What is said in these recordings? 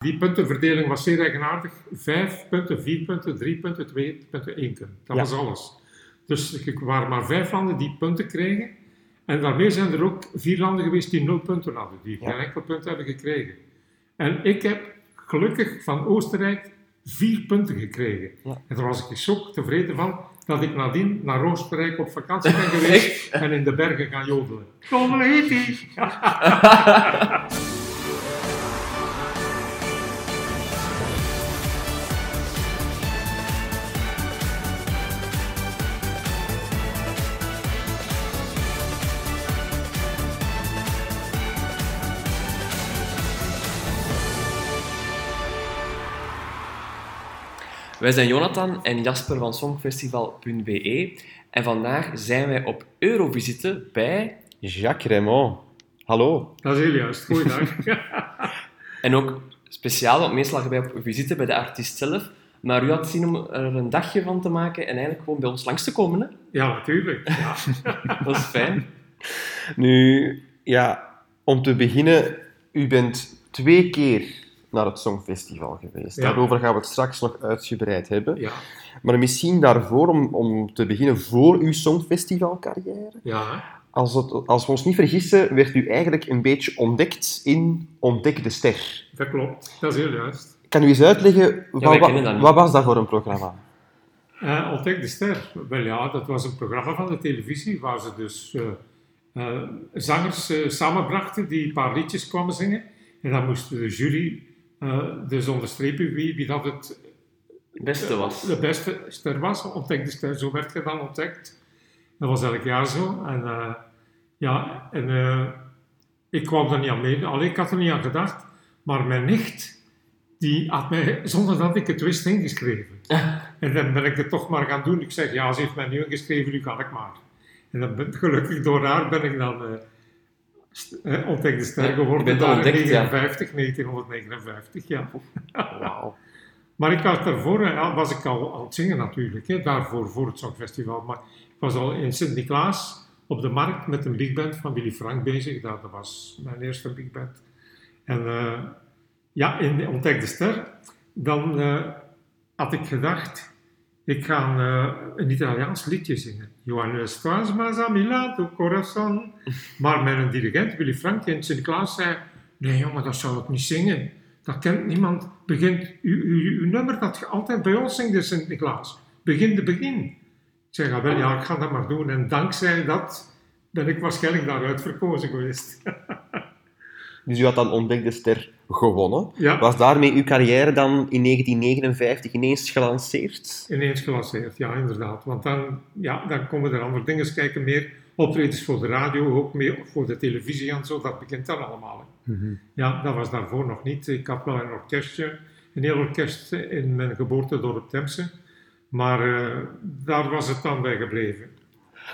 Die puntenverdeling was zeer eigenaardig. Vijf punten, vier punten, drie punten, twee punten, één punt. Dat Ja. was alles. Dus er waren maar vijf landen die punten kregen. En daarmee zijn er ook vier landen geweest die nul punten hadden, die Ja. geen enkel punt hebben gekregen. En ik heb gelukkig van Oostenrijk vier punten gekregen. Ja. En daar was ik zo tevreden van dat ik nadien naar Oostenrijk op vakantie ben geweest en in de bergen gaan jodelen. Compleet! Wij zijn Jonathan en Jasper van Songfestival.be en vandaag zijn wij op Eurovisite bij Jacques Raymond. Hallo. Dat is heel juist. Goeiedag. en ook speciaal, want meestal gaan wij op visite bij de artiest zelf. Maar u had zin om er een dagje van te maken en eigenlijk gewoon bij ons langs te komen. Hè? ja, natuurlijk. Ja. Dat is fijn. Nu, ja, om te beginnen, u bent twee keer naar het Songfestival geweest. Ja. Daarover gaan we het straks nog uitgebreid hebben. Ja. Maar misschien daarvoor, om, om te beginnen voor uw Songfestivalcarrière. Ja, hè. Als, het, als we ons niet vergissen, werd u eigenlijk een beetje ontdekt in Ontdek de Ster. dat klopt. Dat is heel juist. Kan u eens uitleggen, wij wat, kennen dat wat, niet. wat was dat voor een programma? Eh, Ontdek de Ster. Wel ja, dat was een programma van de televisie waar ze dus eh, eh, zangers eh, samenbrachten die een paar liedjes kwamen zingen. En dan moest de jury eh, dus onderstrepen wie, wie dat het Het beste was. de beste ster was. Ontdek de Ster, zo werd je dan ontdekt. Dat was elk jaar zo. En eh, ja, en eh, ik kwam er niet aan mee. Allee, ik had er niet aan gedacht. Maar mijn nicht, die had mij, zonder dat ik het wist, ingeschreven. en dan ben ik het toch maar gaan doen. Ik zeg, ja, ze heeft mij nu ingeschreven, nu kan ik maar. En dan ben, gelukkig door haar ben ik dan eh, st- eh, ontdekt de Ja, ster je geworden. bent daar ontdekt, in ja. 59, 1959, ja. Wauw. Maar ik had daarvoor, eh, was ik al aan het zingen natuurlijk, hè, daarvoor voor het Songfestival. Maar ik was al in Sint-Niklaas op de markt met een big band van Willy Frank bezig. Dat dat was mijn eerste big band. En eh, ja, in Ontdek de Ster, dan eh, had ik gedacht, ik ga eh, een Italiaans liedje zingen. Johannes Strasmas a Milano Corazon. Maar mijn dirigent, Willy Frank, in Sint-Klaas zei... Nee jongen, dat zou ik niet zingen. Dat kent niemand. Begint uw, uw, uw nummer dat je altijd bij ons zingt in Sint-Niklaas. Begin de begin. Ik zeg, ah, wel ja, ik ga dat maar doen. En dankzij dat ben ik waarschijnlijk daaruit verkozen geweest. Dus u had dan Ontdek de Ster gewonnen. ja, Was daarmee uw carrière dan in 1959 ineens gelanceerd? ineens gelanceerd. Ja, inderdaad. Want dan, ja, dan komen er andere dingen kijken. Meer optredens voor de radio, ook meer voor de televisie en zo. Dat begint dan allemaal. hè. Mhm. Ja, dat was daarvoor nog niet. Ik had wel een orkestje, een heel orkest in mijn geboortedorp Temse. Maar eh, daar was het dan bij gebleven.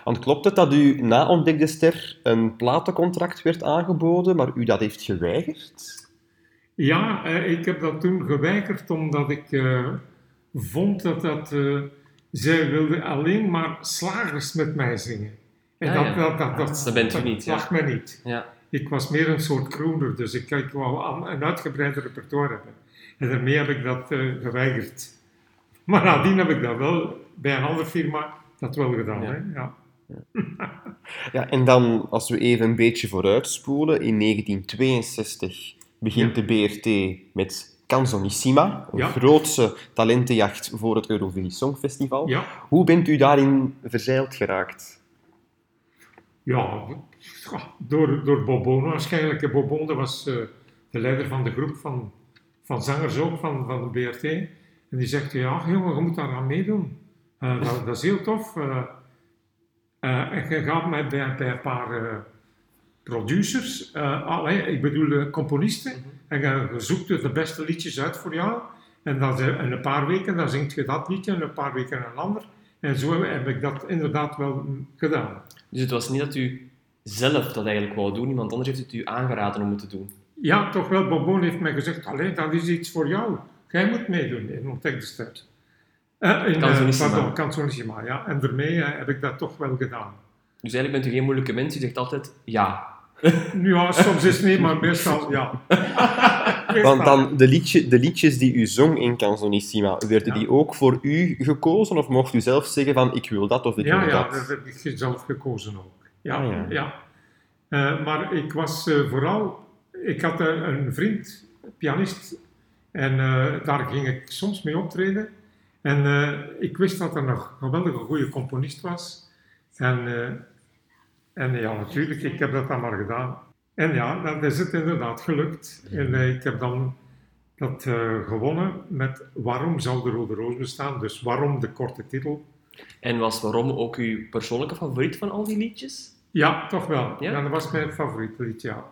Want klopt het dat u na Ontdek de Ster een platencontract werd aangeboden, maar u dat heeft geweigerd? Ja, eh, ik heb dat toen geweigerd omdat ik eh, vond dat dat... eh, zij wilde alleen maar slagers met mij zingen. En Ah, dat, ja. dat, dat, dat, Dat bent u niet, ja. lag mij niet. Ja. Ik was meer een soort crooner, dus ik, ik wou aan- een uitgebreider repertoire hebben. En daarmee heb ik dat eh, geweigerd. Maar nadien heb ik dat wel bij een andere firma dat wel gedaan. Ja. Hè? Ja. Ja, en dan, als we even een beetje vooruitspoelen, in 1962 begint de BRT met Canzonissima, een Ja. grootse talentenjacht voor het Eurovisie Songfestival. Ja. Hoe bent u daarin verzeild geraakt? Ja, door, door Bobon waarschijnlijk. hè. Bobon dat was eh, de leider van de groep van, van zangers ook, van, van de BRT. En die zegt, ja jongen, je moet daar aan meedoen. Eh, dat, dat is heel tof. eh. Eh, en je gaat mij bij, bij een paar eh, producers, eh, allee, ik bedoel eh, componisten, en je, je zoekt er de beste liedjes uit voor jou. En dan, ze- in een paar weken dan zingt je dat liedje, en een paar weken een ander. En zo heb ik dat inderdaad wel mm, gedaan. Dus het was niet dat u zelf dat eigenlijk wou doen, iemand anders heeft het u aangeraden om het te doen. Ja, toch wel. Bobon heeft mij gezegd, allee, dat is iets voor jou. Jij moet meedoen in Ontdek de Ster. Eh, in, Canzonissima. eh, pardon, Canzonissima, ja. En daarmee eh, heb ik dat toch wel gedaan. Dus eigenlijk bent u geen moeilijke mens, u zegt altijd ja. Nu, ja, soms is het niet, maar meestal ja. Want dan de, liedje, de liedjes die u zong in Canzonissima, werden Ja. die ook voor u gekozen? Of mocht u zelf zeggen van, ik wil dat of ik ja, wil ja, dat? dat heb ik zelf gekozen ook. Ja, Ah, ja. ja. Eh, maar ik was eh, vooral... Ik had eh, een vriend, pianist, en eh, daar ging ik soms mee optreden. En eh, ik wist dat er een geweldige goede componist was. En, eh, en ja, natuurlijk, ik heb dat dan maar gedaan. En ja, dat is het inderdaad gelukt. En eh, ik heb dan dat eh, gewonnen met Waarom zou de Rode Roos bestaan? Dus waarom de korte titel? En was waarom ook uw persoonlijke favoriet van al die liedjes? Ja, toch wel. Ja? Ja? dat was mijn favoriete lied, ja.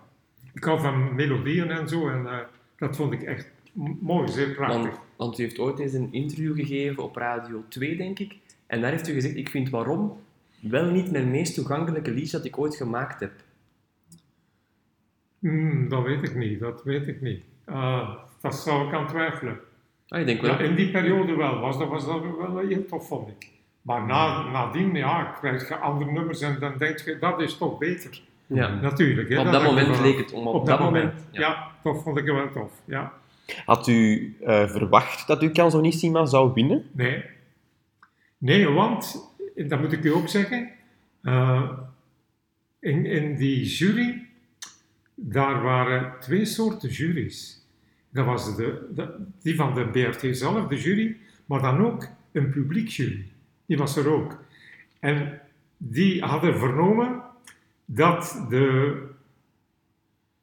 Ik hou van melodieën en zo en eh, dat vond ik echt m- mooi, zeer prachtig. Want, want u heeft ooit eens een interview gegeven op Radio 2, denk ik. En daar heeft u gezegd, ik vind waarom wel niet mijn meest toegankelijke liedje dat ik ooit gemaakt heb. Hmm, dat weet ik niet, dat weet ik niet. Ah, dat zou ik aan twijfelen. Ah, ik denk wel. Ja, in die periode wel, was dat, was dat wel heel tof, vond ik. Maar na, nadien, ja, krijg je andere nummers en dan denk je, dat is toch beter. Ja. Natuurlijk. Hè, Op dat had ik moment wel- leek het om. Op, dat moment, ja. ja. Dat vond ik wel tof, ja. Had u eh, verwacht dat u Canzonissima zou winnen? Nee. Nee, want, dat moet ik u ook zeggen, eh, in, in die jury, daar waren twee soorten juries. Dat was de, de- die van de BRT zelf, de jury, maar dan ook een publiek jury. Die was er ook. En die hadden vernomen dat de,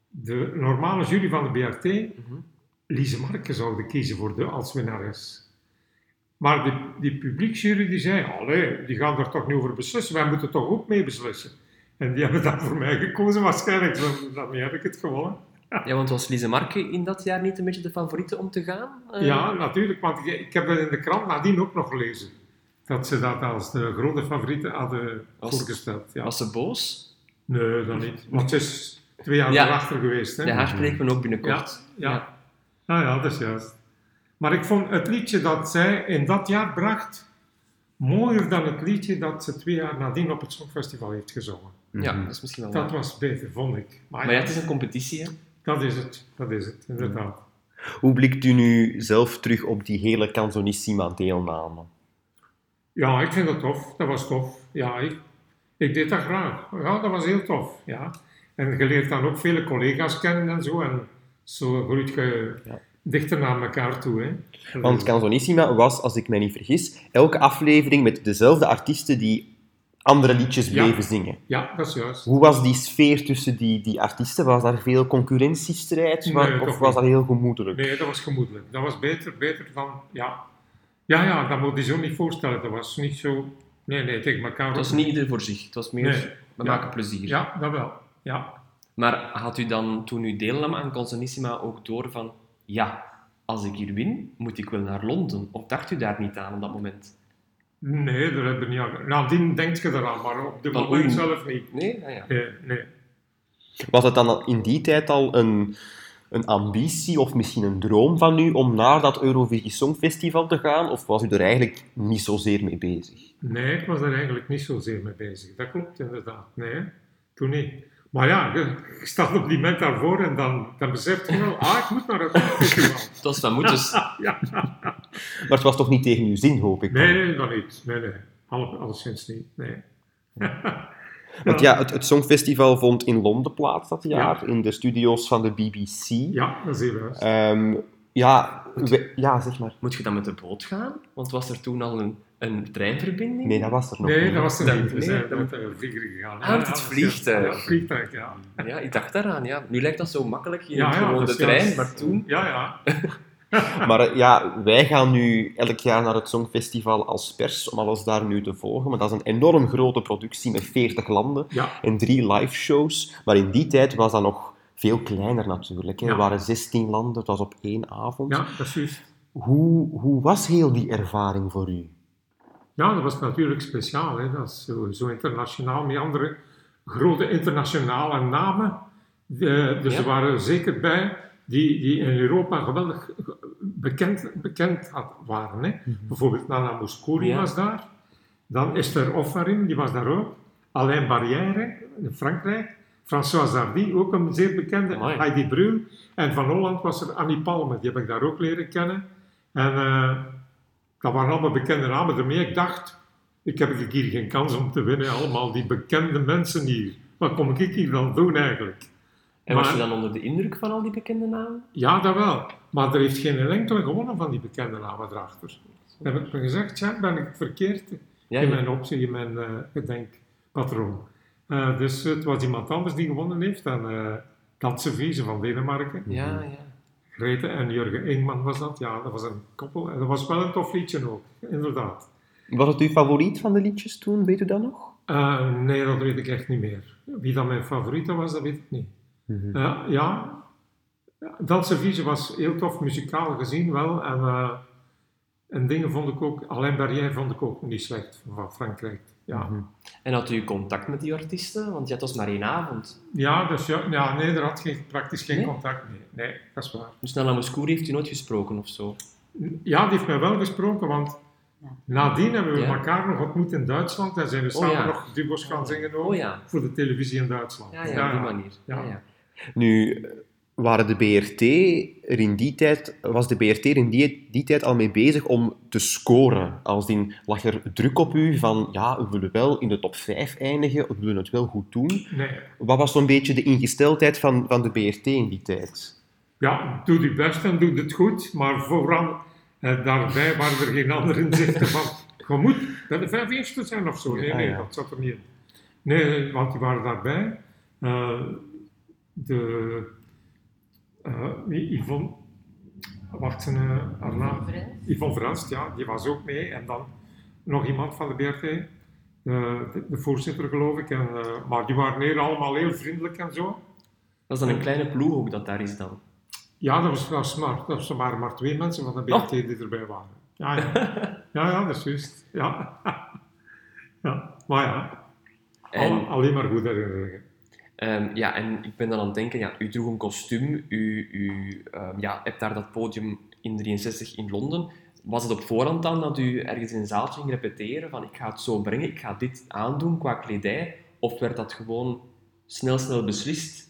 de normale jury van de BRT Mhm. Lise Marke zouden kiezen voor de, als winnares. Maar die, die publieksjury die zei, allee, die gaan er toch niet over beslissen, wij moeten toch ook mee beslissen. En die hebben daar voor mij gekozen waarschijnlijk, want daarmee heb ik het gewonnen. Ja, want was Lise Marke in dat jaar niet een beetje de favoriete om te gaan? Eh, Ja, natuurlijk, want ik, ik heb dat in de krant nadien ook nog gelezen. Dat ze dat als de grote favoriete hadden Was- voorgesteld. Ja. Was ze boos? Nee, dat niet. Want het is twee jaar Ja. erachter geweest. Hè? Ja, haar spreken we ook binnenkort. Ja. Ah ja, dat is juist. Maar ik vond het liedje dat zij in dat jaar bracht mooier dan het liedje dat ze twee jaar nadien op het Songfestival heeft gezongen. Ja, dat is misschien wel Dat waar. was beter, vond ik. Maar, Maar ja, het is een competitie, hè. dat is het, dat is het, inderdaad. Hoe blikt u nu zelf terug op die hele Canzonissima-deelname? Ja, ik vind dat tof. Dat was tof. Ja, ik, ik deed dat graag. Ja, dat was heel tof. Ja. En je leert dan ook vele collega's kennen en zo. En zo groeit je Ja. dichter naar elkaar toe. Hè. Want Canzonissima was, als ik mij niet vergis, elke aflevering met dezelfde artiesten die andere liedjes Ja. bleven zingen. Ja, dat is juist. Hoe was die sfeer tussen die, die artiesten? Was daar veel concurrentiestrijd? Nee, Wa- toch of niet. was dat heel gemoedelijk? Nee, dat was gemoedelijk. Dat was beter, beter dan... Ja, ja, ja dat moet je zo niet voorstellen. Dat was niet zo... Nee, nee, tegen elkaar. Het was ook niet ieder voor zich. Het was meer, Nee. we Ja. maken plezier. Ja, dat wel. Ja. Maar had u dan, toen u deelnam aan Canzonissima, ook door van... Ja, als ik hier win, moet ik wel naar Londen. Of dacht u daar niet aan op dat moment? Nee, daar hebben we niet aan... Nadien denk je eraan, maar op dit Van moment oei. zelf niet. Nee? Ah, ja. Nee, nee. Was het dan al in die tijd al een, een ambitie of misschien een droom van u om naar dat Eurovisie Songfestival te gaan? Of was u er eigenlijk niet zozeer mee bezig? Nee, ik was daar eigenlijk niet zozeer mee bezig. Dat klopt inderdaad. Nee, toen niet. Maar ja, je, je staat op die moment daarvoor en dan, dan beseft je wel, ah, ik moet naar het festival. Het was van dus, moeders. Maar het was toch niet tegen uw zin, hoop ik. Nee, nee, dat niet. Nee, nee. Alle- Alleszins niet. Nee. Want ja, het, het Songfestival vond in Londen plaats dat jaar, in de studio's van de BBC. Ja, dat is heel Eh, juist. Ehm, ja, we- ja, zeg maar. Moet je dan met de boot gaan? Want was er toen al een, een treinverbinding? Nee, dat was er nog Nee, niet. dat was er Dat- niet. We nee, zijn dat- met de vlieger gegaan. Ah, Ja, met het ja, vliegtuig. Ja, het vliegtuig, ja. Ja, ik dacht daaraan, ja. Nu lijkt dat zo makkelijk. Je Ja, neemt ja, gewoon dat de is trein, juist. maar toen... Ja, ja. Maar eh, ja, wij gaan nu elk jaar naar het Songfestival als pers om alles daar nu te volgen. Maar dat is een enorm grote productie met 40 landen Ja, en drie live shows. Maar in die tijd was dat nog veel kleiner natuurlijk. Hè. Er Ja. waren 16 landen, het was op één avond. ja dat is juist. Hoe, hoe was heel die ervaring voor u? Ja, dat was natuurlijk speciaal. Hè. Dat is zo, zo internationaal, met andere grote internationale namen. De- dus Ja. er waren er zeker bij die, die in Europa geweldig bekend, bekend had- waren. Hè. Bijvoorbeeld Nana Mouskouri Mhm. Ja. was daar. Dan Esther Offarin, die was daar ook. Alain Barrière in Frankrijk. François Zardy, ook een zeer bekende, Amai. Heidi Bruhl. En van Holland was er Annie Palme, die heb ik daar ook leren kennen. En eh, dat waren allemaal bekende namen ermee. Ik dacht, ik heb hier geen kans om te winnen, allemaal die bekende mensen hier. Wat kom ik hier dan doen eigenlijk? En was Maar- je dan onder de indruk van al die bekende namen? Ja, dat wel. Maar er heeft geen enkele gewonnen van die bekende namen erachter. Dan heb ik me gezegd, ja, ben ik verkeerd Ja, in ja. mijn optie, in mijn eh, gedenkpatroon. Eh, dus het was iemand anders die gewonnen heeft. En eh Danse Vriezen van Denemarken. Ja, ja. Grete en Jurgen Ingman was dat. Ja, dat was een koppel. En dat was wel een tof liedje ook, inderdaad. Was het uw favoriet van de liedjes toen, weet u dat nog? Eh, nee, dat weet ik echt niet meer. Wie dan mijn favoriete was, dat weet ik niet. Eh, ja, Danse Vieze was heel tof muzikaal gezien wel. En, eh, en dingen vond ik ook, Alain Barrière vond ik ook niet slecht van Frankrijk. Ja, Mhm. En had u contact met die artiesten? Want ja, het was maar één avond. ja, dus ja, ja nee, er had geen, praktisch geen Nee? contact mee. Nee, dat is waar. Dus Nella Mouskouri heeft u nooit gesproken of zo? Ja, die heeft mij wel gesproken, want Ja. nadien hebben we Ja. elkaar nog ontmoet in Duitsland en zijn we Oh, samen ja. nog dubo's gaan zingen ook, Oh ja. voor de televisie in Duitsland. Ja, ja, op die manier. Ja, Ja. ja. Nu, eh, waren de BRT er in die tijd, was de BRT er in die, die tijd al mee bezig om te scoren? Als in, lag er druk op u van, ja, we willen wel in de top 5 eindigen, we willen het wel goed doen. Nee, Wat was zo'n beetje de ingesteldheid van, van de BRT in die tijd? ja, doe je best en doe het goed, maar vooral eh, daarbij waren er geen andere inzichten van. Je moet bij de vijf eerste zijn of zo. Nee, Ja, nee, ja. dat zat er niet in. Nee, want die waren daarbij. Eh, de eh, Yvonne, wacht, zijn eh, haar naam? Yvonne Verhelst, ja, die was ook mee. En dan nog iemand van de BRT, eh, de, de voorzitter geloof ik. En, eh, maar die waren hier allemaal heel vriendelijk en zo. Dat is dan Mm. een kleine ploeg ook dat daar is dan. Oh. Ja, dat was, dat was maar, dat waren maar twee mensen van de Oh. BRT die erbij waren. Ja, ja. ja, ja dat is juist. Ja. ja. Maar ja, En, al- alleen maar goed herinneringen. ehm, ja, en ik ben dan aan het denken, ja, u droeg een kostuum, u, u ehm, ja, hebt daar dat podium in 63 in Londen. Was het op voorhand dan dat u ergens in een zaaltje ging repeteren van ik ga het zo brengen, ik ga dit aandoen qua kledij? Of werd dat gewoon snel, snel beslist?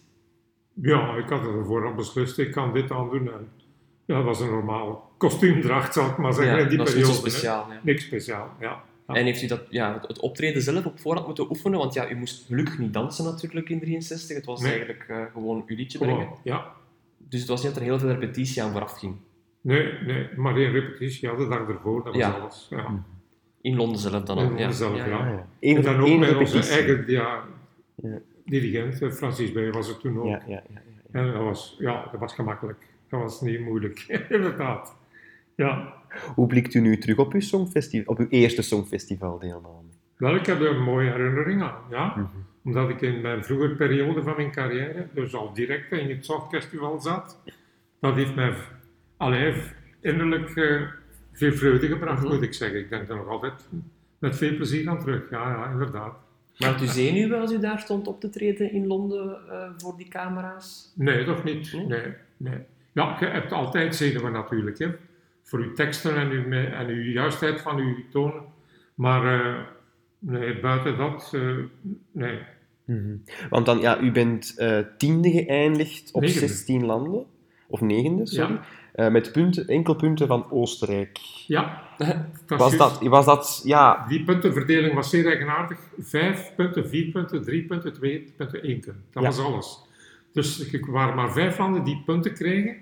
Ja, ik had ervoor al beslist, ik kan dit aan doen. En, ja, dat was een normaal kostuumdracht, zal ik maar zeggen, in die dat is niet periode. zo hè. speciaal. ja. Niks speciaal, ja. Ja. En heeft u dat, ja, het- het optreden zelf op voorhand moeten oefenen? Want ja, u moest gelukkig niet dansen natuurlijk in 63. Het was Nee. eigenlijk eh, gewoon uw liedje Gewoon, brengen. ja. Dus het was niet dat er heel veel repetitie aan vooraf ging. Nee, nee, maar één repetitie, ja, de dag ervoor, dat was Ja. alles. Ja. In Londen zelf dan In ook. Ja. Londen zelf, ja. Ah, ja. En Eén, dan ook één met onze repetitie. eigen ja, Ja. dirigent, eh, Francis Bey was het toen ook. Ja, ja, ja. En dat was, ja, dat was gemakkelijk. Dat was niet moeilijk, inderdaad. Ja. Hoe blikt u nu terug op uw, songfestival, op uw eerste songfestivaldeelname? Wel, ik heb er een mooie herinnering aan, ja. Mhm. Omdat ik in mijn vroege periode van mijn carrière, dus al direct in het Songfestival zat, dat heeft mij v- allee, v- innerlijk eh, veel vreugde gebracht, Mhm. moet ik zeggen. Ik denk er nog altijd met veel plezier aan terug, ja, ja, inderdaad. Maar had u zenuwen als u daar stond op te treden in Londen eh, voor die camera's? Nee, toch niet? Nee? Nee, nee. Ja, je hebt altijd zenuwen natuurlijk, hè. Voor uw teksten en uw, me- en uw juistheid van uw tonen. Maar eh, nee, buiten dat, eh, nee. Mhm. Want dan, ja, u bent eh, tiende geëindigd op Negende. 16 landen. Of negende, sorry. Ja. Eh, met punten, enkelpunten van Oostenrijk. Ja, dat is Was juist. dat, was dat, ja... Die puntenverdeling was zeer eigenaardig. Vijf punten, vier punten, drie punten, twee punten, één punt. Dat Ja. was alles. Dus er waren maar vijf landen die punten kregen.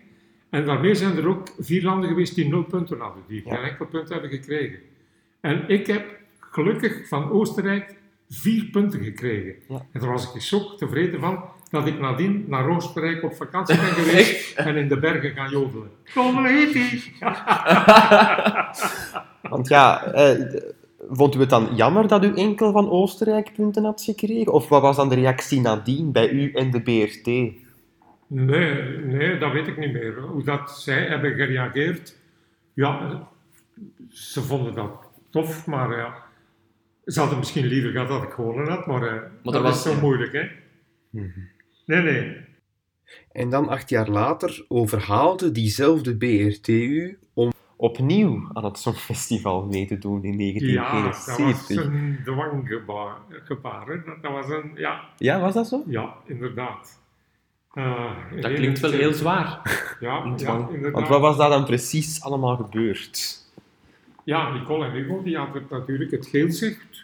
En daarmee zijn er ook vier landen geweest die nul punten hadden, die Ja. geen enkel punt hebben gekregen. En ik heb gelukkig van Oostenrijk vier punten gekregen. Ja. En daar was ik zo tevreden van dat ik nadien naar Oostenrijk op vakantie ben geweest en in de bergen gaan jodelen. Kom, Want ja, eh, d- vond u het dan jammer dat u enkel van Oostenrijk punten had gekregen? Of wat was dan de reactie nadien bij u en de BRT? Nee, nee, dat weet ik niet meer. Hoe dat zij hebben gereageerd, ja, ze vonden dat tof, maar ja, ze hadden misschien liever gehad dat ik gewonnen had, maar, eh, dat dat, was- is zo ja. moeilijk, hè? Nee, nee. En dan acht jaar later overhaalde diezelfde BRT u om, opnieuw aan het Songfestival mee te doen in Ja, dat was 1971. Ja, was, een dwanggebaar. gebaar, hè. Dat, dat was een, ja, dat zo? ja inderdaad. Eh, Dat een klinkt wel hele- heel zwaar. Ja, ja dwang. inderdaad. Want wat was daar dan precies allemaal gebeurd? Ja, Nicole en Hugo die hadden natuurlijk het geelzicht.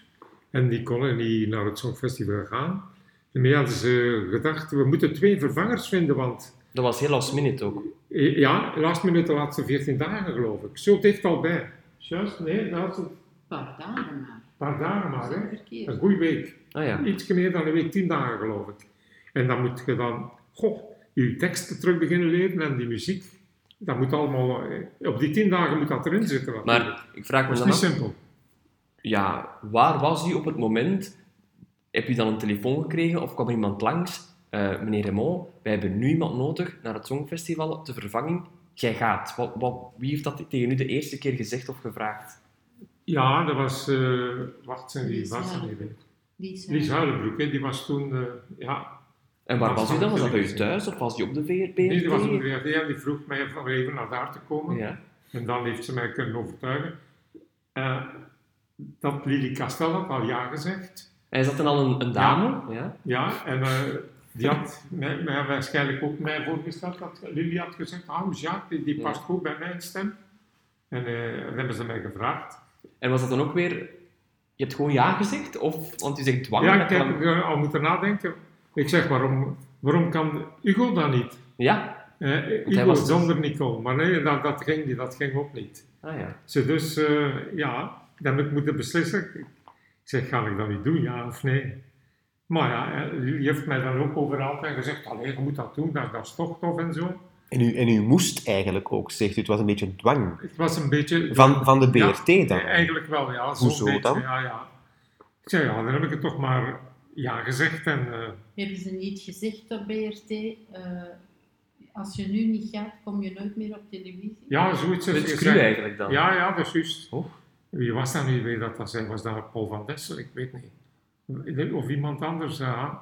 En die konden niet naar het Songfestival gaan. Daarmee hadden ze gedacht, we moeten twee vervangers vinden, want... Dat was heel last minute ook. eh, Ja, last minute de laatste 14 dagen, geloof ik. Zo dicht al bij. Juist, nee, de laatste paar dagen maar. paar dagen maar, Dat is hè. niet verkeerd. Een goede week. Ah ja. Iets meer dan een week, 10 dagen, geloof ik. En dan moet je dan, goh, je teksten terug beginnen leren en die muziek. Dat moet allemaal... eh, Op die 10 dagen moet dat erin zitten, natuurlijk. Maar ik vraag me Dat is dan niet af, simpel. ja, waar was u op het moment? Heb je dan een telefoon gekregen of kwam er iemand langs? Eh, meneer Raymond, wij hebben nu iemand nodig naar het Songfestival op de vervanging. Jij gaat. Wat, wat, wie heeft dat tegen u de eerste keer gezegd of gevraagd? Ja, dat was, eh, wacht, zijn die Lies was er Huilenbroek. niet Die zijn... Lies Huilenbroek, hè, die was toen, eh, ja, En waar Dat was u zou dan? Was dat bij u natuurlijk zijn. thuis of was die op de VRP? nee, die was op de VRT en die vroeg mij om even naar daar te komen. Ja. En dan heeft ze mij kunnen overtuigen. Eh, dat Lili Castel had al ja gezegd. En is dat dan al een, een dame? Ja. Ja, en eh, die had mij, mij waarschijnlijk ook mij voorgesteld dat Lili had gezegd, ah, Jacques, die, die Ja. past goed bij mijn stem. En eh, dan hebben ze mij gevraagd. En was dat dan ook weer... Je hebt gewoon ja gezegd? Of, want u zegt dwang. ja, dat ik heb kan- eh, al moeten nadenken. Ik zeg, waarom, waarom kan Hugo dat niet? Ja? Eh, hij Hugo dus- was- zonder Nicole, maar nee, dat, dat, ging, niet, dat ging ook niet. Ah ja. Ze dus, eh, ja, dan heb ik moeten beslissen. Ik zeg, ga ik dat niet doen, ja of nee? Maar ja, eh, jullie heeft mij dan ook overal en gezegd, allee, je moet dat doen, dat, dat is toch tof en zo. En u, en u moest eigenlijk ook, zegt u, het was een beetje een dwang Het was een beetje... van, van de Ja, BRT dan. eh, Eigenlijk wel, ja. zo'n Hoezo beetje, dan? Ja, ja. Ik zeg, ja, dan heb ik het toch maar ja gezegd en... eh, Hebben ze niet gezegd op BRT, eh, als je nu niet gaat, kom je nooit meer op televisie? ja, zoiets Dat heeft is gezegd. cru eigenlijk dan. Ja, ja, dat is juist. Oh. Wie was dat nu weer dat dat zei? Was dat Paul van Dessel? Ik weet niet. Of iemand anders. Ja,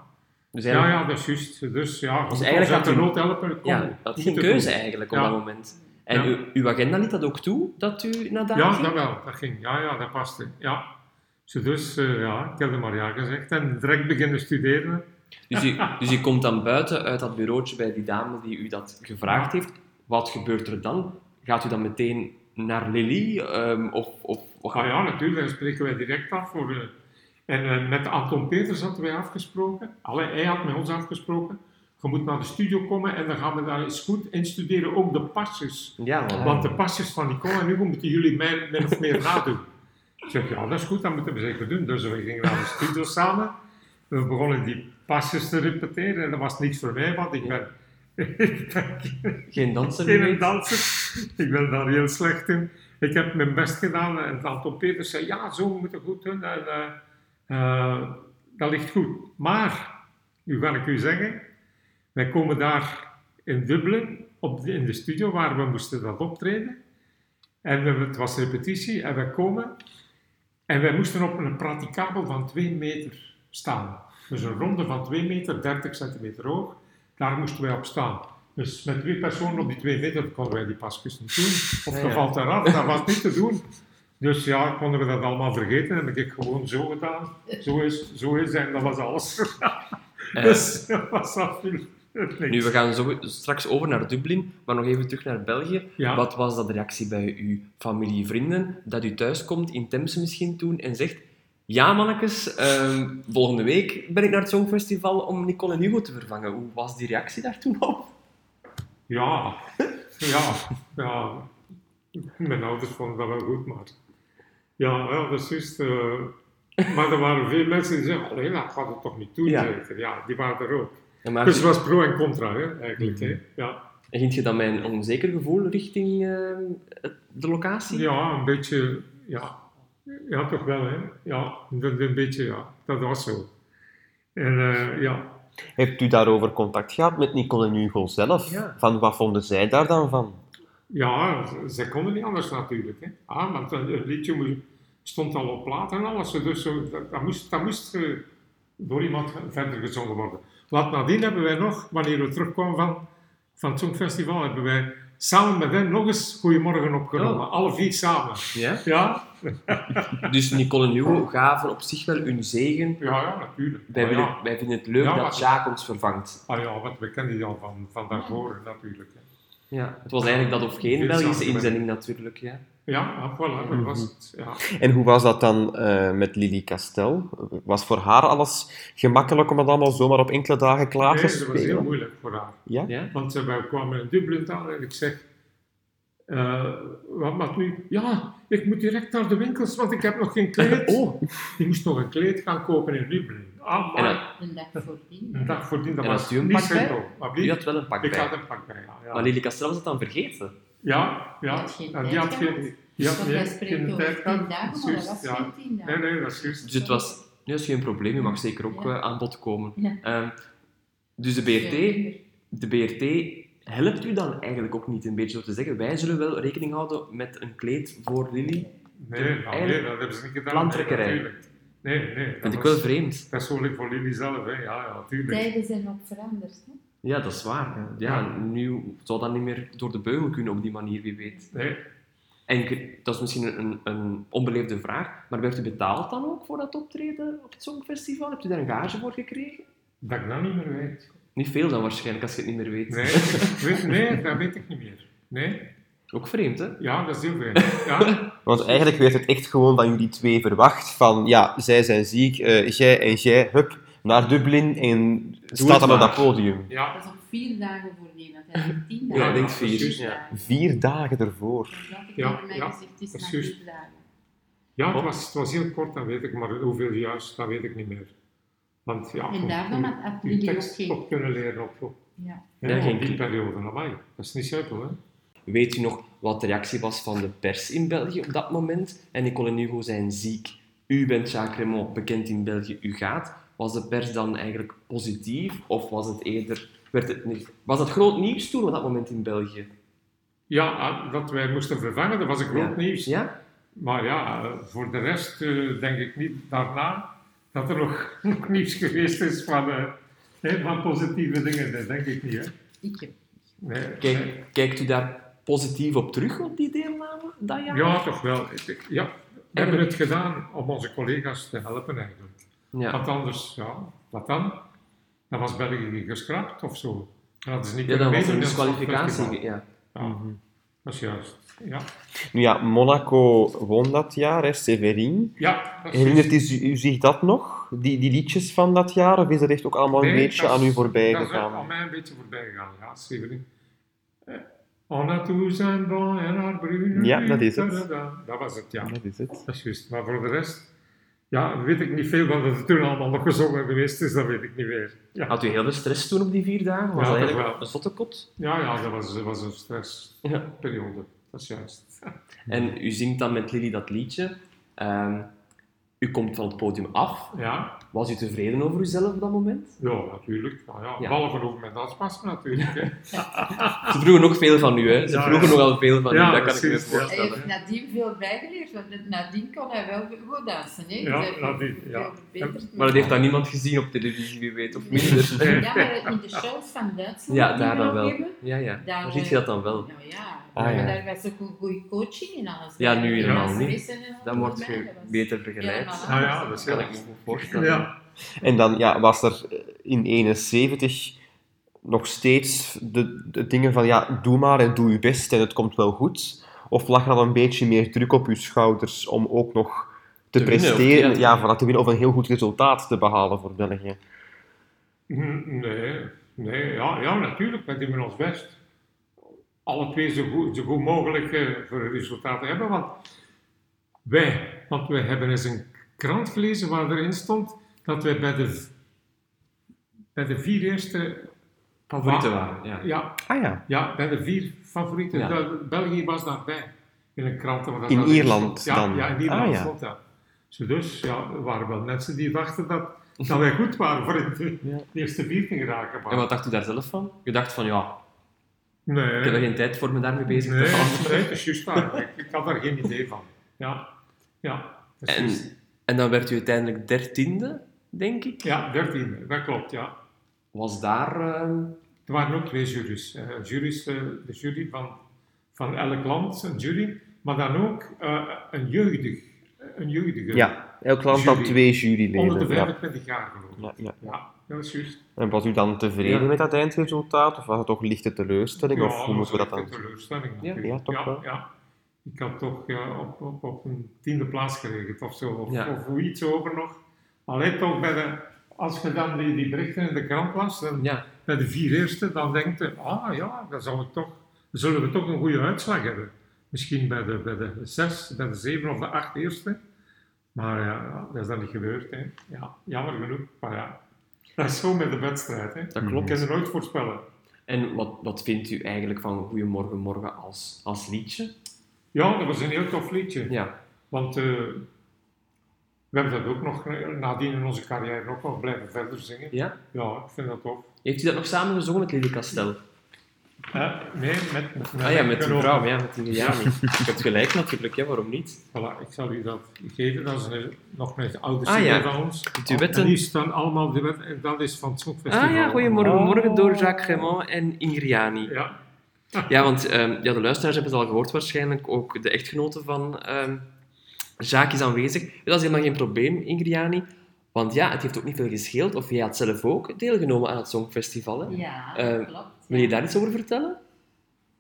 Dus ja, eigenlijk, ja dat is juist. Dus ja, Dus je eigenlijk kan had de u- nood helpen. kom, ja, je dat moet geen het keuze doen. eigenlijk op Ja. dat moment. En Ja. uw, uw agenda liet dat ook toe, dat u naar daar Ja, ging? dat wel. Dat ging. Ja, ja, dat paste. Ja. Dus, dus eh, ja, ik heb er maar ja gezegd. En direct beginnen studeren. Dus, u, dus u komt dan buiten uit dat bureautje bij die dame die u dat gevraagd heeft. Wat gebeurt er dan? Gaat u dan meteen naar Lily? ehm, of, of, wat Ah ja, natuurlijk, daar spreken wij direct af. Voor, eh, en eh, met Anton Peters hadden wij afgesproken. Allee, hij had met ons afgesproken. Je moet naar de studio komen en dan gaan we daar eens goed instuderen. Ook de pasjes. ja, want- Want de pasjes van Nicole en Hugo moeten jullie mij min of meer nadoen. Ik zeg, ja, dat is goed, dat moeten we zeker doen. Dus we gingen naar de studio samen. We begonnen die pasjes te repeteren. En dat was niks voor mij, want ik ben, ik ben geen danser geen meer. danser. Ik ben daar heel slecht in. Ik heb mijn best gedaan. En het aantal Peters zei, ja, zo we moeten goed doen. En, eh, eh, dat ligt goed. Maar, nu ga ik u zeggen, wij komen daar in Dublin, op de- in de studio waar we moesten dat optreden. En we- het was repetitie en wij komen. En wij moesten op een praticabel van 2 meter staan. Dus een ronde van 2 meter, 30 centimeter hoog. Daar moesten wij op staan. Dus met twee personen op die 2 meter konden wij die pasjes niet doen. Of Ja, je ja. valt eraf, dat was niet te doen. Dus ja, konden we dat allemaal vergeten. En heb ik gewoon zo gedaan. Zo is, zo is en dat was alles. Eh, dus dat was absoluut niks. nu, we gaan zo, straks over naar Dublin, maar nog even terug naar België. Ja. Wat was dat reactie bij uw familie, vrienden, dat u thuiskomt in Temse misschien toen en zegt... Ja, mannetjes, ehm, volgende week ben ik naar het Songfestival om Nicole en Hugo te vervangen. Hoe was die reactie daar toen op? Ja, ja, ja. Mijn ouders vonden dat wel goed, maar... Ja, wel, dat is juist... eh, maar er waren veel mensen die zeiden, alleen dat gaat het toch niet doen, Ja. zeker?" Ja, die waren er ook. En maakte- Dus het was pro en contra, hè, eigenlijk. Hè. Ja. En ging je dan met een onzeker gevoel richting eh, het- de locatie? ja, een beetje... Ja, ja toch wel, hè. Ja, een, een beetje, ja. Dat was zo. En eh, ja, Hebt u daarover contact gehad met Nicole en Hugo zelf? Ja. Van wat vonden zij daar dan van? Ja, ze- ze konden niet anders natuurlijk. Hè. Ah, want het liedje moest- stond al op plaat en alles. Dus zo, dat, dat moest, dat moest eh, door iemand ge- verder gezongen worden. Wat nadien hebben wij nog, wanneer we terugkwamen van, van het Songfestival, hebben wij samen met hen nog eens Goedemorgen opgenomen. Alle vier samen. Ja? Ja, Dus Nicole en Hugo gaven op zich wel hun zegen. ja, ja natuurlijk. Wij, Maar willen- ja. wij vinden het leuk Ja, dat maar- Jacques ons vervangt. Ah ja, want we kennen die al van, van daarvoor natuurlijk. hè. Ja. Het was eigenlijk dat of geen Dit Belgische zou ik- inzending natuurlijk. Ja. Ja, ah, voilà, dat was het. Ja. En hoe was dat dan eh, met Lily Castel? Was voor haar alles gemakkelijk om het allemaal zomaar op enkele dagen klaar Nee, te dat was heel spelen? moeilijk voor haar. Ja? Ja? Want eh, wij kwamen in Dublin aan en ik zeg... eh, wat maakt nu? Ja, ik moet direct naar de winkels, want ik heb nog geen kleed. Oh. Die moest nog een kleed gaan kopen in Dublin. Ah, En, maar dan- de dag voordien. een dag voordien, dat en was had u een niet pak bij? simpel. Maar u blieft, had wel een pak ik bij. had een pak bij, ja. ja. Maar Lily Castel was het dan vergeten. Ja, ja. Die had geen en die tijd had gehad. geen, die had Want nee, wij geen spreken over tijd tien gehad. dagen, maar dat Juist, was ja. geen tien Nee, dagen. nee, dat is juist. Dus het was... Nee, dat is geen probleem. Je mag zeker ook Ja. eh, aan bod komen. Ja. eh, Ehm, dus de BRT, de BRT helpt u dan eigenlijk ook niet een beetje door te zeggen wij zullen wel rekening houden met een kleed voor Lily? Nee, nou, nee, Eigenlijk dat hebben ze niet gedaan. plantrekkerij. Nee, natuurlijk. nee, nee. Dat Vind ik was- wel vreemd. Dat is zo voor jullie zelf, hè. Ja, ja, natuurlijk. Tijden zijn ook veranderd. Hè? Ja, dat is waar. Ja, nu zou dat niet meer door de beugel kunnen op die manier, wie weet. Nee, En ik- dat is misschien een- een, een onbeleefde vraag, maar werd u betaald dan ook voor dat optreden op het Songfestival? Hebt u daar een gage voor gekregen? dat ik dat niet meer weet. Niet veel dan waarschijnlijk, als je het niet meer weet. Nee, ik weet, nee, dat weet ik niet meer. Nee, Ook vreemd, hè? ja, dat is heel weinig. Ja, Want eigenlijk werd het echt gewoon van jullie twee verwacht. Van, ja, zij zijn ziek, eh, jij en jij, hup, naar Dublin en staat het dan op maar. dat podium. ja. Dat is op vier dagen voordien, want hij heeft tien Ja, dagen. ik denk vier, Vier ja. dagen. Vier dagen ervoor. Dus dat ik Ja, tegen mij ja, gezegd, het is dat is maar juist. vier dagen. ja het, was, het was heel kort, dat weet ik, maar hoeveel juist, dat weet ik niet meer. Want ja, En om- daarvan om had- had Oh, die Willy ook tekst oh. geen. op kunnen leren op, op, Ja. hè, Ja, op geen- die periode. Amai, dat is niet simpel, hè. Weet u nog wat de reactie was van de pers in België op dat moment? En Nicole en Hugo zijn ziek. U bent Jacques Raymond, bekend in België, u gaat. Was de pers dan eigenlijk positief? Of was het eerder... Werd het niet, was dat groot nieuws toen op dat moment in België? Ja, ah, dat wij moesten vervangen, dat was een groot Ja. nieuws. Ja? Maar ja, eh, voor de rest eh, denk ik niet daarna dat er nog, nog nieuws geweest is van, eh, hè, van positieve dingen. Dat denk ik niet. Hè. Ik heb Nee, nee. Kijk, kijkt u daar positief op terug, op die deelname dat jaar? Ja, toch wel. Ik- ik- Ja, we hebben het gedaan om onze collega's te helpen eigenlijk. Ja. Want anders, ja, wat dan? Dan was België geschrapt of zo. Dan hadden ze niet Ja, dan kunnen was er een meedoen in het disqualificatie. Songfestival. Ja. Ja, dat is juist. Ja, Nu ja, Monaco won dat jaar, hè, Severin. ja dat is juist. Herinnert u, u zich dat nog? Die, die liedjes van dat jaar? Of is dat echt ook allemaal een Nee, beetje dat is- aan u voorbij Dat is ook aan gegaan? mij een beetje voorbij gegaan, ja, zeker. Eh, On a tous un bon en un brune. Ja, dat is het. Da-da-da. Dat was het, ja. Dat is het. Dat is juist. Maar voor de rest, ja, weet ik niet veel wat er toen allemaal nog gezongen geweest is, dat weet ik niet meer. Ja, Had u heel veel stress toen op die vier dagen? Was Ja, dat toch eigenlijk wel. een zotte kot? ja, ja dat was, was een Ja. stressperiode. Dat is juist. En u zingt dan met Lily dat liedje. Ehm, u komt van het podium af. Ja, Was u tevreden over uzelf op dat moment? ja natuurlijk. Nou, ja, Ja. Behalve over mijn danspas natuurlijk. Hè. Ze vroegen ook veel van u, hè? Ze Ja, vroegen ja. nogal veel van Ja, u, dat kan ik me precies, ja. Hij voorstellen. heeft nadien veel bijgeleerd, want nadien kon hij wel goed dansen. Hè? Dus Ja, Hij heeft nadien, veel ja. verbeterd. Maar dat heeft dan niemand gezien op televisie, wie weet, of minder. Ja, maar in de shows van Duitsland Ja, die daar we dan nog wel. hebben, Ja, ja. daar, Daar ziet eh, je dat dan wel. Nou ja, Ah, maar ja. daar was ook een goede coaching en alles. Ja, nu Die helemaal was niet. missen en Dan alles word erbij, je dat was- beter begeleid. Ja, Nou ja, dat is Dat heel kan ik me goed voorstellen. Ja. En dan ja, was er eh, in 71 nog steeds de, de dingen van ja, doe maar en doe je best en het komt wel goed. Of lag er al een beetje meer druk op uw schouders om ook nog te, Te winnen, of presteren? ja, te ja, voilà, te winnen of een heel goed resultaat te behalen voor België. Hm, Nee, nee ja, ja, natuurlijk, wij doen ons best. Alle twee zo goed, zo goed mogelijk eh, voor een resultaat te hebben. Want wij, want wij hebben eens een krant gelezen waar erin stond dat wij bij de, v- bij de vier eerste, Favorieten Ja. waren, ja. ja, Ah ja, ja bij de vier favorieten, Ja. Bel- België was daarbij in een krant. waar dat In dat in Ierland stond. ja, dan? Ja, in Ierland Ah, ja. stond dat. Zo Dus ja, er waren wel mensen die dachten dat, dat wij goed waren voor in de, Ja. de eerste vier te geraken. maar- En wat dacht u daar zelf van? Je dacht van, ja, Nee. ik heb er geen tijd voor me daarmee bezig Nee, te houden. nee, dat is juist waar. Ik, ik had daar geen idee van. Ja, ja. dat is En, juist. en dan werd u uiteindelijk dertiende, denk ik. Ja, 13, dat klopt, ja. Was daar... ehm, Er waren ook twee juries. Eh, juries eh, de jury van van elk land, een jury, maar dan ook eh, een jeugdig, een jeugdige. Ja, elk land had Jury. twee Onder juryleden. de Ja. 25 jaar geloof ik. Ja, ja. Ja, dat is juist. En was u dan tevreden Ja. met dat eindresultaat? Of was het toch lichte teleurstelling? Ja, of hoe moeten we dat dan... Een teleurstelling Ja, natuurlijk. ja, toch ja, wel. ja. Ik had toch eh, op, op, op een tiende plaats geregeld of zo, of, Ja. of hoe iets over nog. Alleen toch bij de, als je dan die, die berichten in de krant las, dan, Ja, bij de vier eerste, dan denkt je, ah ja, dan zal ik toch, zullen we toch een goede uitslag hebben. Misschien bij de, bij de zes, bij de zeven of de acht eerste. Maar ja, dat is dan niet gebeurd. Hè. Ja, jammer genoeg, maar ja. Dat is zo met de wedstrijd. Hè. dat Mhm. Je klopt. kan ze nooit voorspellen. En wat, wat vindt u eigenlijk van Goedemorgen Morgen als, als liedje? Ja, dat was een heel tof liedje. Ja, Want eh, we hebben dat ook nog eh, nadien in onze carrière nog wel blijven verder zingen. ja. Ja, ik vind dat tof. Heeft u dat nog samen gezongen, het Lillekastel? Eh, nee, met, met, Ah ja, met de uw vrouw, ja, met die Jani. Je hebt gelijk natuurlijk, ja, waarom niet? Voilà, ik zal u dat geven. Dat is een, nog een oude Ah, CD ja. van ons. duetten. En die staan allemaal duetten. En dat is van het Songfestival. Ah ja, Goedemorgen Oh. Morgen door Jacques Gremont. Raymond en Ingriani. Ja, Ja, want ehm, ja, de luisteraars hebben het al gehoord waarschijnlijk, ook de echtgenote van ehm Jacques is aanwezig. Dat is helemaal geen probleem, Ingriani. Want ja, het heeft ook niet veel gescheeld, of jij had zelf ook deelgenomen aan het Songfestival. Hè? Ja, Eh, klopt. Wil je ja. daar iets over vertellen?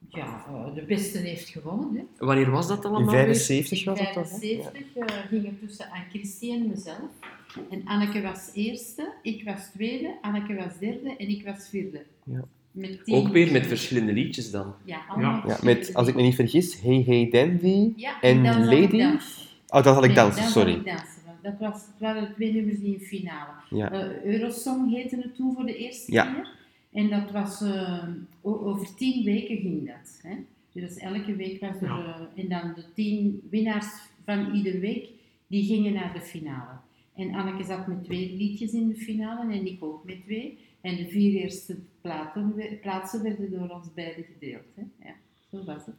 Ja, eh, de beste heeft gewonnen. Hè. Wanneer was dat In allemaal weer? 75 was dat toch? hè? Ja. 75 eh, ging het tussen aan Christie en mezelf. En Anneke was eerste, ik was tweede, Anneke was derde en ik was vierde. Ja. Met tien- Ook weer met verschillende liedjes dan. Ja, allemaal Ja, verschillende met, als ik me dingen. niet vergis, Hey Hey Dandy. Ja, en dan zal ik Lady? dansen. Oh, dan zal ik Nee, dansen, dan zal sorry. ik dansen, want Dat was, het waren de twee nummers die in de finale. Ja. Eh, Eurosong heette het toen voor de eerste Ja. keer. En dat was, eh, o- over tien weken ging dat. Hè? Dus elke week was er, Ja. eh, en dan de tien winnaars van iedere week, die gingen naar de finale. En Anneke zat met twee liedjes in de finale en ik ook met twee. En de vier eerste platen, we- plaatsen werden door ons beiden gedeeld. Hè? Ja, zo was het.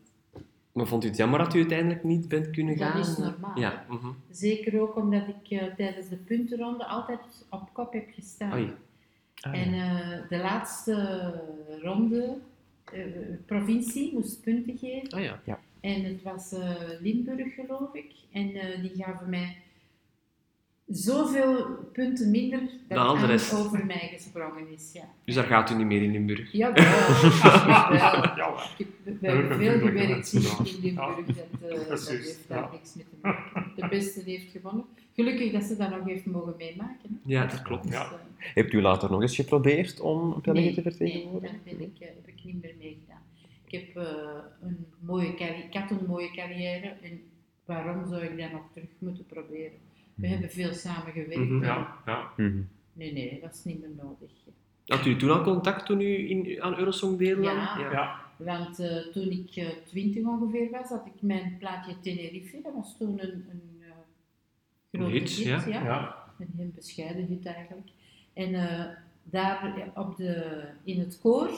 Maar vond u het jammer dat u uiteindelijk niet bent kunnen Dat gaan? is normaal, Ja. mhm. Zeker ook omdat ik eh, tijdens de puntenronde altijd op kop heb gestaan. Oei. Ah, En eh, de laatste ronde, eh, provincie, moest punten geven. Ah ja. En het was eh, Limburg, geloof ik. En eh, die gaven mij zoveel punten minder dat Dan de Anne rest. over mij gesprongen is. Ja, Dus daar gaat u niet meer in Limburg. ja wel. ja, ja. Ik Dat heb heb bij ik veel natuurlijk gewerkt in gedaan. in Limburg, dat, eh, dat Precies, heeft ja. daar niks mee te maken. De beste heeft gewonnen. Gelukkig dat ze dat nog heeft mogen meemaken. hè. Ja, dat klopt. Dus, Ja. eh, Hebt u later nog eens geprobeerd om België nee, te vertegenwoordigen? Nee, daar ben ik, eh, heb ik niet meer mee gedaan. Ik, heb, eh, een mooie carri- ik had een mooie carrière en waarom zou ik dat nog terug moeten proberen? We Mhm. hebben veel samen gewerkt. Mhm. en- ja, ja. Mhm. Nee, nee, dat is niet meer nodig. Had u toen al contact toen u in, aan Eurosong deelnam? Ja. ja. Want eh, toen ik eh, 20 ongeveer was, had ik mijn plaatje Tenerife. Dat was toen een, een eh, grote Een hit, ja. ja. ja. Een heel bescheiden hit eigenlijk. En eh, daar op de, in het koor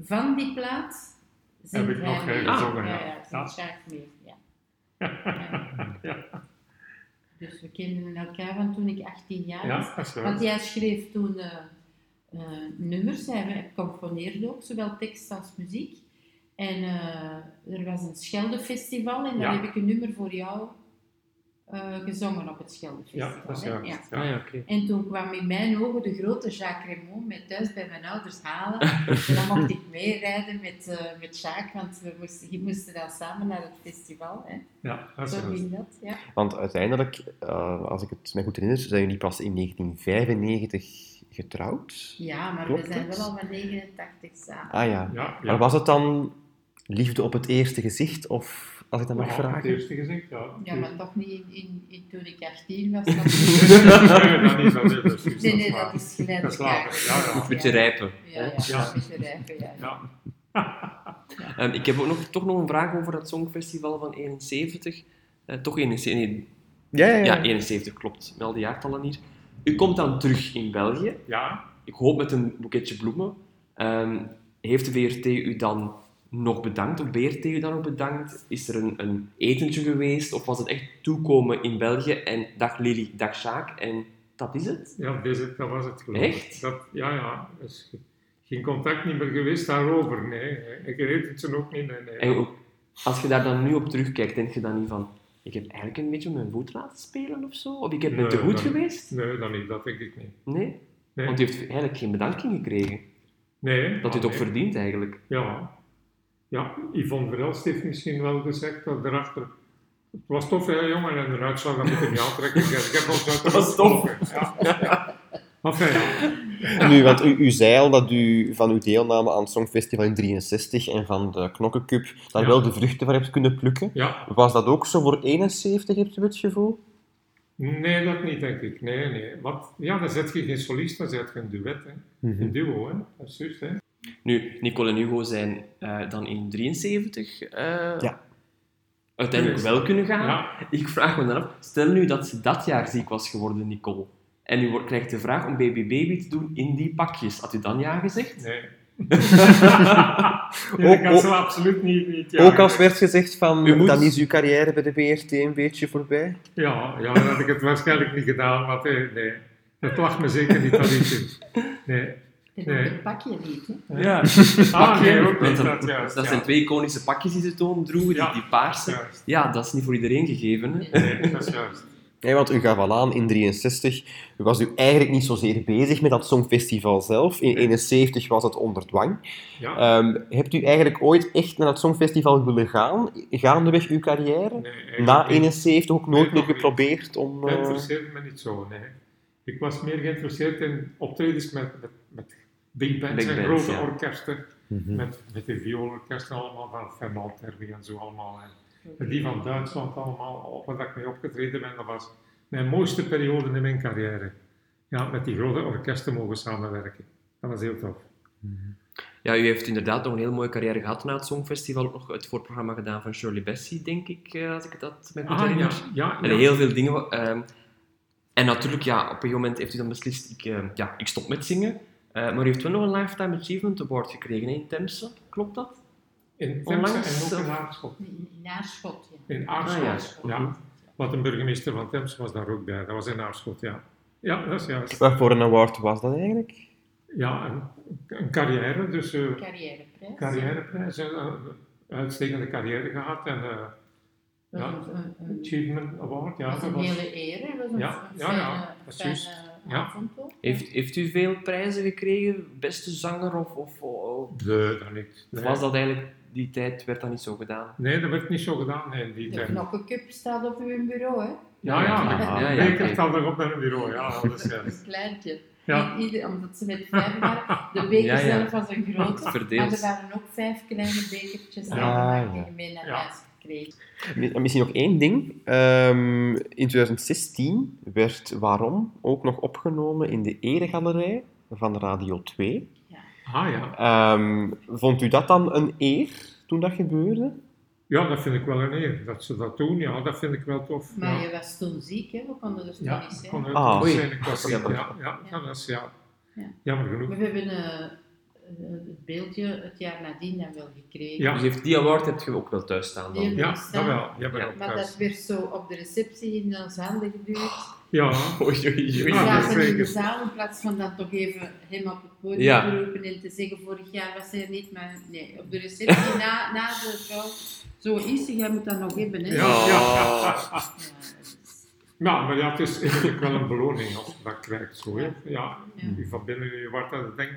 van die plaat zingt Heb ik hij nog, eh, mee. gezongen, ja. ja. Ja, zingt Ja. Sjaak mee, ja. Ja. Dus we kennen elkaar van toen ik 18 jaar was. ja dat is Want wel. jij schreef toen eh, eh, nummers, hij componeerde ook, zowel tekst als muziek. En eh, er was een Scheldefestival en daar Ja. heb ik een nummer voor jou eh, gezongen op het Ja, Scheldefestival. dat is hè? wel. Ja. Ja. Ah ja, oké. En toen kwam in mijn ogen de grote Jacques Raymond met thuis bij mijn ouders halen. en dan mocht ik meerijden met, eh, met Jacques, want we moesten, die moesten dan samen naar het festival. Hè. Ja, dat is Zo wel. ging dat, ja. Want uiteindelijk, eh, als ik het mij goed herinner, zijn jullie pas in 1995 getrouwd. Ja, maar Klopt we zijn het? wel al van 89 samen. Ah ja. Ja, Maar ja. was het dan liefde op het eerste gezicht? Of, als ik dat mag Ja, Het vragen? eerste gezicht, ja. Ja, natuurlijk. maar toch niet in, in, in- toen ik 18 was. Dan... dat is- dat is- dat is- nee, nee, dat is gelijk. Dat is later, ja, ja. Een beetje rijpen. Ja, ja, Ja. een beetje rijpen, ja. Ja. Ehm, ik heb ook nog, toch nog een vraag over dat Songfestival van 71. Eh, toch 71, nee, Ja, ja, ja. ja, 71 klopt. Wel de jaartallen hier. U komt dan terug in België. Ja, Ik hoop met een boeketje bloemen. Ehm, heeft de VRT u dan nog bedankt? Of BRT u dan nog bedankt? Is er een, een etentje geweest? Of was het echt toekomen in België en dag Lily, dag Sjaak en dat is het? ja, deze, dat was het geloof ik. Echt? Dat, ja, ja. Dus je, geen contact niet meer geweest daarover. Nee, ik weet het ze ook niet. Nee, nee. En ook, als je daar dan nu op terugkijkt, denk je dan niet van... Ik heb eigenlijk een beetje mijn voet laten spelen of zo? Of ik heb- ben te Nee, goed dan- geweest? Nee, dan niet, dat denk ik niet. Nee? Nee. Want u heeft eigenlijk geen bedanking gekregen. Nee, Dat u ah, het ook nee. verdient, eigenlijk. Ja. Ja, Yvonne Verelst heeft misschien wel gezegd dat erachter... Het was tof, hè, jongen, en eruit zag dat met een ja trekken. Ik heb ons uit de Dat was hoek tof. getrokken. Ja. Enfin, ja. Nu, want u, u zei al dat u van uw deelname aan het Songfestival in 63 en van de Knokkencup daar Ja. wel de vruchten van hebt kunnen plukken. ja. Was dat ook zo voor 71, hebt u het gevoel? Nee, dat niet, denk ik. Nee, nee. Wat, ja, dan zet je geen solist, dan zet je een duet, hè. Een duo, hè. Dat is juist, hè. Nu, Nicole en Hugo zijn eh, dan in 73 eh, Ja. uiteindelijk wel kunnen gaan. Dus- Ja. Ik vraag me dan af, stel nu dat ze dat jaar ziek was geworden, Nicole. En u wordt- krijgt de vraag om Baby Baby te doen in die pakjes. Had u dan ja gezegd? Nee. nee dat Ook- kan ze ook- absoluut niet. niet ja, Ook als nee. werd gezegd van, U moet- dan is uw carrière bij de BRT een beetje voorbij. Ja, ja, dan had ik het waarschijnlijk niet gedaan, want eh, nee. Dat lag me zeker niet dat iets is. Nee. Terwijl Nee. ik pak je niet, hè. Ja. Ah, Pakje. nee, ook niet. Want Dat, dat, juist, dat ja. zijn twee iconische pakjes die ze toen droegen, die, Ja. die paarse. Ja. Juist. dat is niet voor iedereen gegeven. Hè? Nee, dat is juist. Nee, want u gaf al aan, in 63 was u eigenlijk niet zozeer bezig met dat Songfestival zelf. In 71 was het onder dwang. Ja. Eh, Ehm, hebt u eigenlijk ooit echt naar dat Songfestival willen gaan, gaandeweg uw carrière? Nee, eigenlijk Na niet. 71 ook nooit Nee, meer nog niet. geprobeerd om... Dat eh, interesseerde me niet zo, nee. Ik was meer geïnteresseerd in optredens met, met, met big bands Big en bands, grote ja. Mm. orkesten. Mhm. Met, met de vioolorkesten allemaal, van Fernand Terry en zo allemaal. En, en die van Duitsland allemaal, op wat ik mee opgetreden ben. Dat was mijn mooiste periode in mijn carrière. Ja, met die grote orkesten mogen samenwerken. Dat was heel tof. Ja, u heeft inderdaad nog een heel mooie carrière gehad na het Songfestival. Ook nog het voorprogramma gedaan van Shirley Bessie, denk ik, eh, als ik dat me goed Ah, ja, herinner. ja, En ja. heel veel dingen. ehm, en natuurlijk, ja, op een gegeven moment heeft u dan beslist, ik, eh, ja, ik stop met zingen. Eh, maar u heeft wel nog een Lifetime Achievement Award gekregen hè, in Temse, klopt dat? In onlangs, Temse en ook in eh, Aarschot. In Aarschot, ja. In Ah, Aarschot, ja. ja. Want een burgemeester van Temse was daar ook bij. Dat was in Aarschot, ja. Ja, dat is juist. Wat voor een award was dat eigenlijk? Ja, een, een carrière, dus... eh, Carrièreprijs. carrièreprijs, eh, een uitstekende carrière gehad. En, eh, Dat ja. was een, een, een, Achievement Award, ja. dat was een was- hele eer, hè. Dat was een, Ja, een ja, ja, fijne, dat is fijne juist. Ja. avond ook. Heeft, heeft u veel prijzen gekregen? Beste zanger of... of, of Nee, dat niet. of Nee. was dat eigenlijk, die tijd werd dat niet zo gedaan? nee, dat werd niet zo gedaan nee, in die De tijd. knokkencup staat op uw bureau, hè. Ja, Ah, ja. ja, ja, Nee, ik oké. heb dat nog op mijn bureau, ja. Dat is juist. Een kleintje. Ja. Niet ieder- omdat ze met vijf waren. De beker Ja, ja. zelf was een grote. Maar er Verdeeld. waren ook vijf kleine bekertjes Ja. aangemaakt Ah, ja. die je mee naar Ja. huis kreeg. Mi- Misschien nog één ding. Ehm, in 2016 werd Waarom ook nog opgenomen in de eregalerij van Radio 2. Ah, ja. Ehm, vond u dat dan een eer toen dat gebeurde? Ja, dat vind ik wel een eer. Dat ze dat doen, ja, dat vind ik wel tof. Maar ja. je was toen ziek, hè? We konden er toen Ja, niet ik zijn. kon het Ah. niet zijn, ik was Oei. ziek, ja, ja, ja, dat is ja. Ja. Jammer genoeg. Maar we hebben eh, eh, het beeldje het jaar nadien dan wel gekregen. Ja. Dus heeft die award heb je ook wel thuis staan dan? Die hebben Ja, we dat staan. wel. Ja, maar Ja, ook Maar wel. dat werd zo op de receptie in onze handen geduwd. ja. Oei, oei, oei. Oh. We Ja, zaten in de zeker. zaal in plaats van dan toch even hem op het podium Ja. te roepen en te zeggen: vorig jaar was hij er niet, maar nee, op de receptie na, na de show. Zo is hij, jij moet dat nog hebben. Hè? Ja, ja. Oh. Ja, nou, maar ja, het is eigenlijk wel een beloning als je dat krijgt. Zo, hè. Ja, Ja. die van binnen in je hart dat je denkt.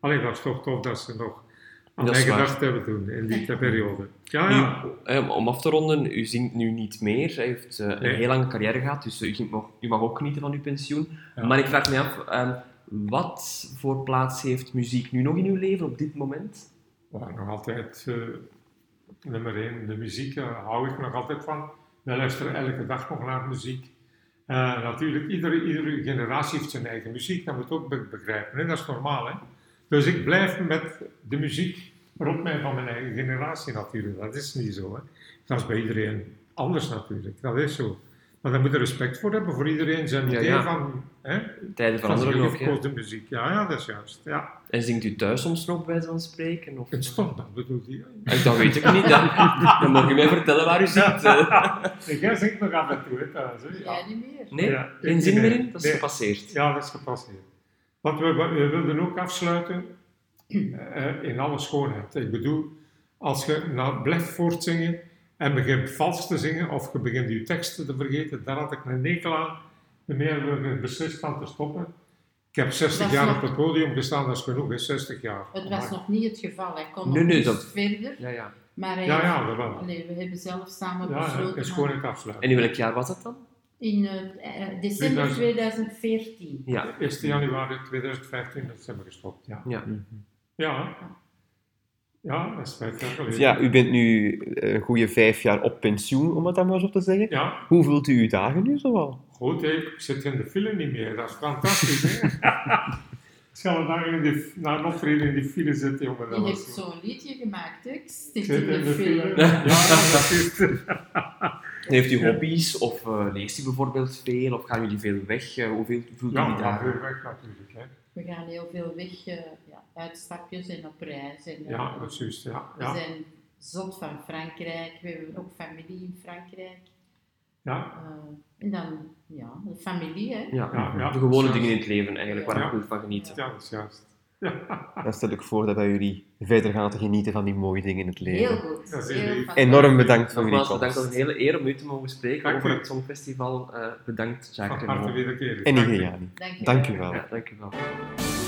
Allee, dat is toch tof dat ze nog aan Dat is mij waar. gedacht hebben toen, in die periode. Ja, Nu, Ah, ja. eh, om af te ronden, u zingt nu niet meer. U heeft eh, een Nee. heel lange carrière gehad, dus eh, u, ging- mag, u mag ook genieten van uw pensioen. Ja. Maar ik vraag me af, eh, wat voor plaats heeft muziek nu nog in uw leven op dit moment? Maar nog altijd eh, nummer één. De muziek eh, hou ik nog altijd van. Wij luisteren elke dag nog naar muziek. Eh, natuurlijk, iedere, iedere generatie heeft zijn eigen muziek. Dat moet ook be- begrijpen. Hè? Dat is normaal. Hè? Dus ik blijf met de muziek rond mij van mijn eigen generatie natuurlijk. Dat is niet zo. Hè? Dat is bij iedereen anders natuurlijk. Dat is zo. Maar daar moet je respect voor hebben. Voor iedereen zijn Ja, idee ja. van... Hè? Tijden Van veranderen ook, hè? gekozen muziek. Ja, ja, dat is juist. Ja. En zingt u thuis soms nog bij zo'n spreken? Of... Het stond, dat bedoel je. Eh, Dat weet ik niet. Dan, dan mag u mij vertellen waar u zingt. eh. Jij zingt nog af en toe hè, thuis. Hè? Ja. Jij niet meer. Nee, Ja. geen zin Nee. meer in? Dat is Nee. gepasseerd. Ja, dat is gepasseerd. Want we, we- we wilden ook afsluiten eh, in alle schoonheid. Ik bedoel, als je naar blijft voortzingen en begint vals te zingen of je begint je teksten te vergeten, daar had ik een nekel aan. De meer beslist van te stoppen. Ik heb 60 Was jaar nog- op het podium gestaan, dat is genoeg, hè, 60 jaar. Het was nog niet het geval. Hij kon Nee, nog nee, iets dat- verder. Ja, ja. Maar hij Ja, ja, dat wel. Allee, we hebben zelf samen Ja, ja, besloten. ik is om- gewoon het afsluiten. En in welk jaar was dat dan? In eh, eh, december 2000. 2014. Ja. 1 januari 2015 dat zijn we gestopt, ja. Ja. Ja, ja dat is vijf jaar geleden. Dus Ja, u bent nu eh, een goede vijf jaar op pensioen, om het dan maar zo te zeggen. Ja, Hoe vult u uw dagen nu zoal? goed, hè. ik zit in de file niet meer, dat is fantastisch. hè. Ik zal een dag in die, na een optreden in die file zitten, jongen. dat Je was hebt zo. zo'n liedje gemaakt, hè? Ik Zit Ik zit in de file. film. Ja, dat is het. Heeft u hobby's of eh, leest u bijvoorbeeld veel of gaan jullie veel weg? Eh, hoeveel voelt u Ja, die we gaan dagen? weer weg natuurlijk. Hè. We gaan heel veel weg, eh, ja, uitstapjes en op reis. En, eh, Ja, dat is juist, ja. We Ja, zijn zot van Frankrijk, we hebben ook familie in Frankrijk. ja, Eh, en dan, ja, de familie, hè? Ja, Ja, ja. de gewone dingen in het leven eigenlijk, waar Ja. ik goed van genieten. ja dat is juist. Dan stel ik voor dat wij jullie verder gaan te genieten van die mooie dingen in het Heel leven. goed. Dat is heel heel lief. fantastisch. Enorm bedankt voor jullie Nogmaals, bedankt. Het komst. was een hele eer om u te mogen spreken Dank over u. het Songfestival. Eh, bedankt, Jacques. Van harte Raymond. wederkerig. En Dank u. Igeriani. Dank je Dank u wel. wel. Ja, dank u wel.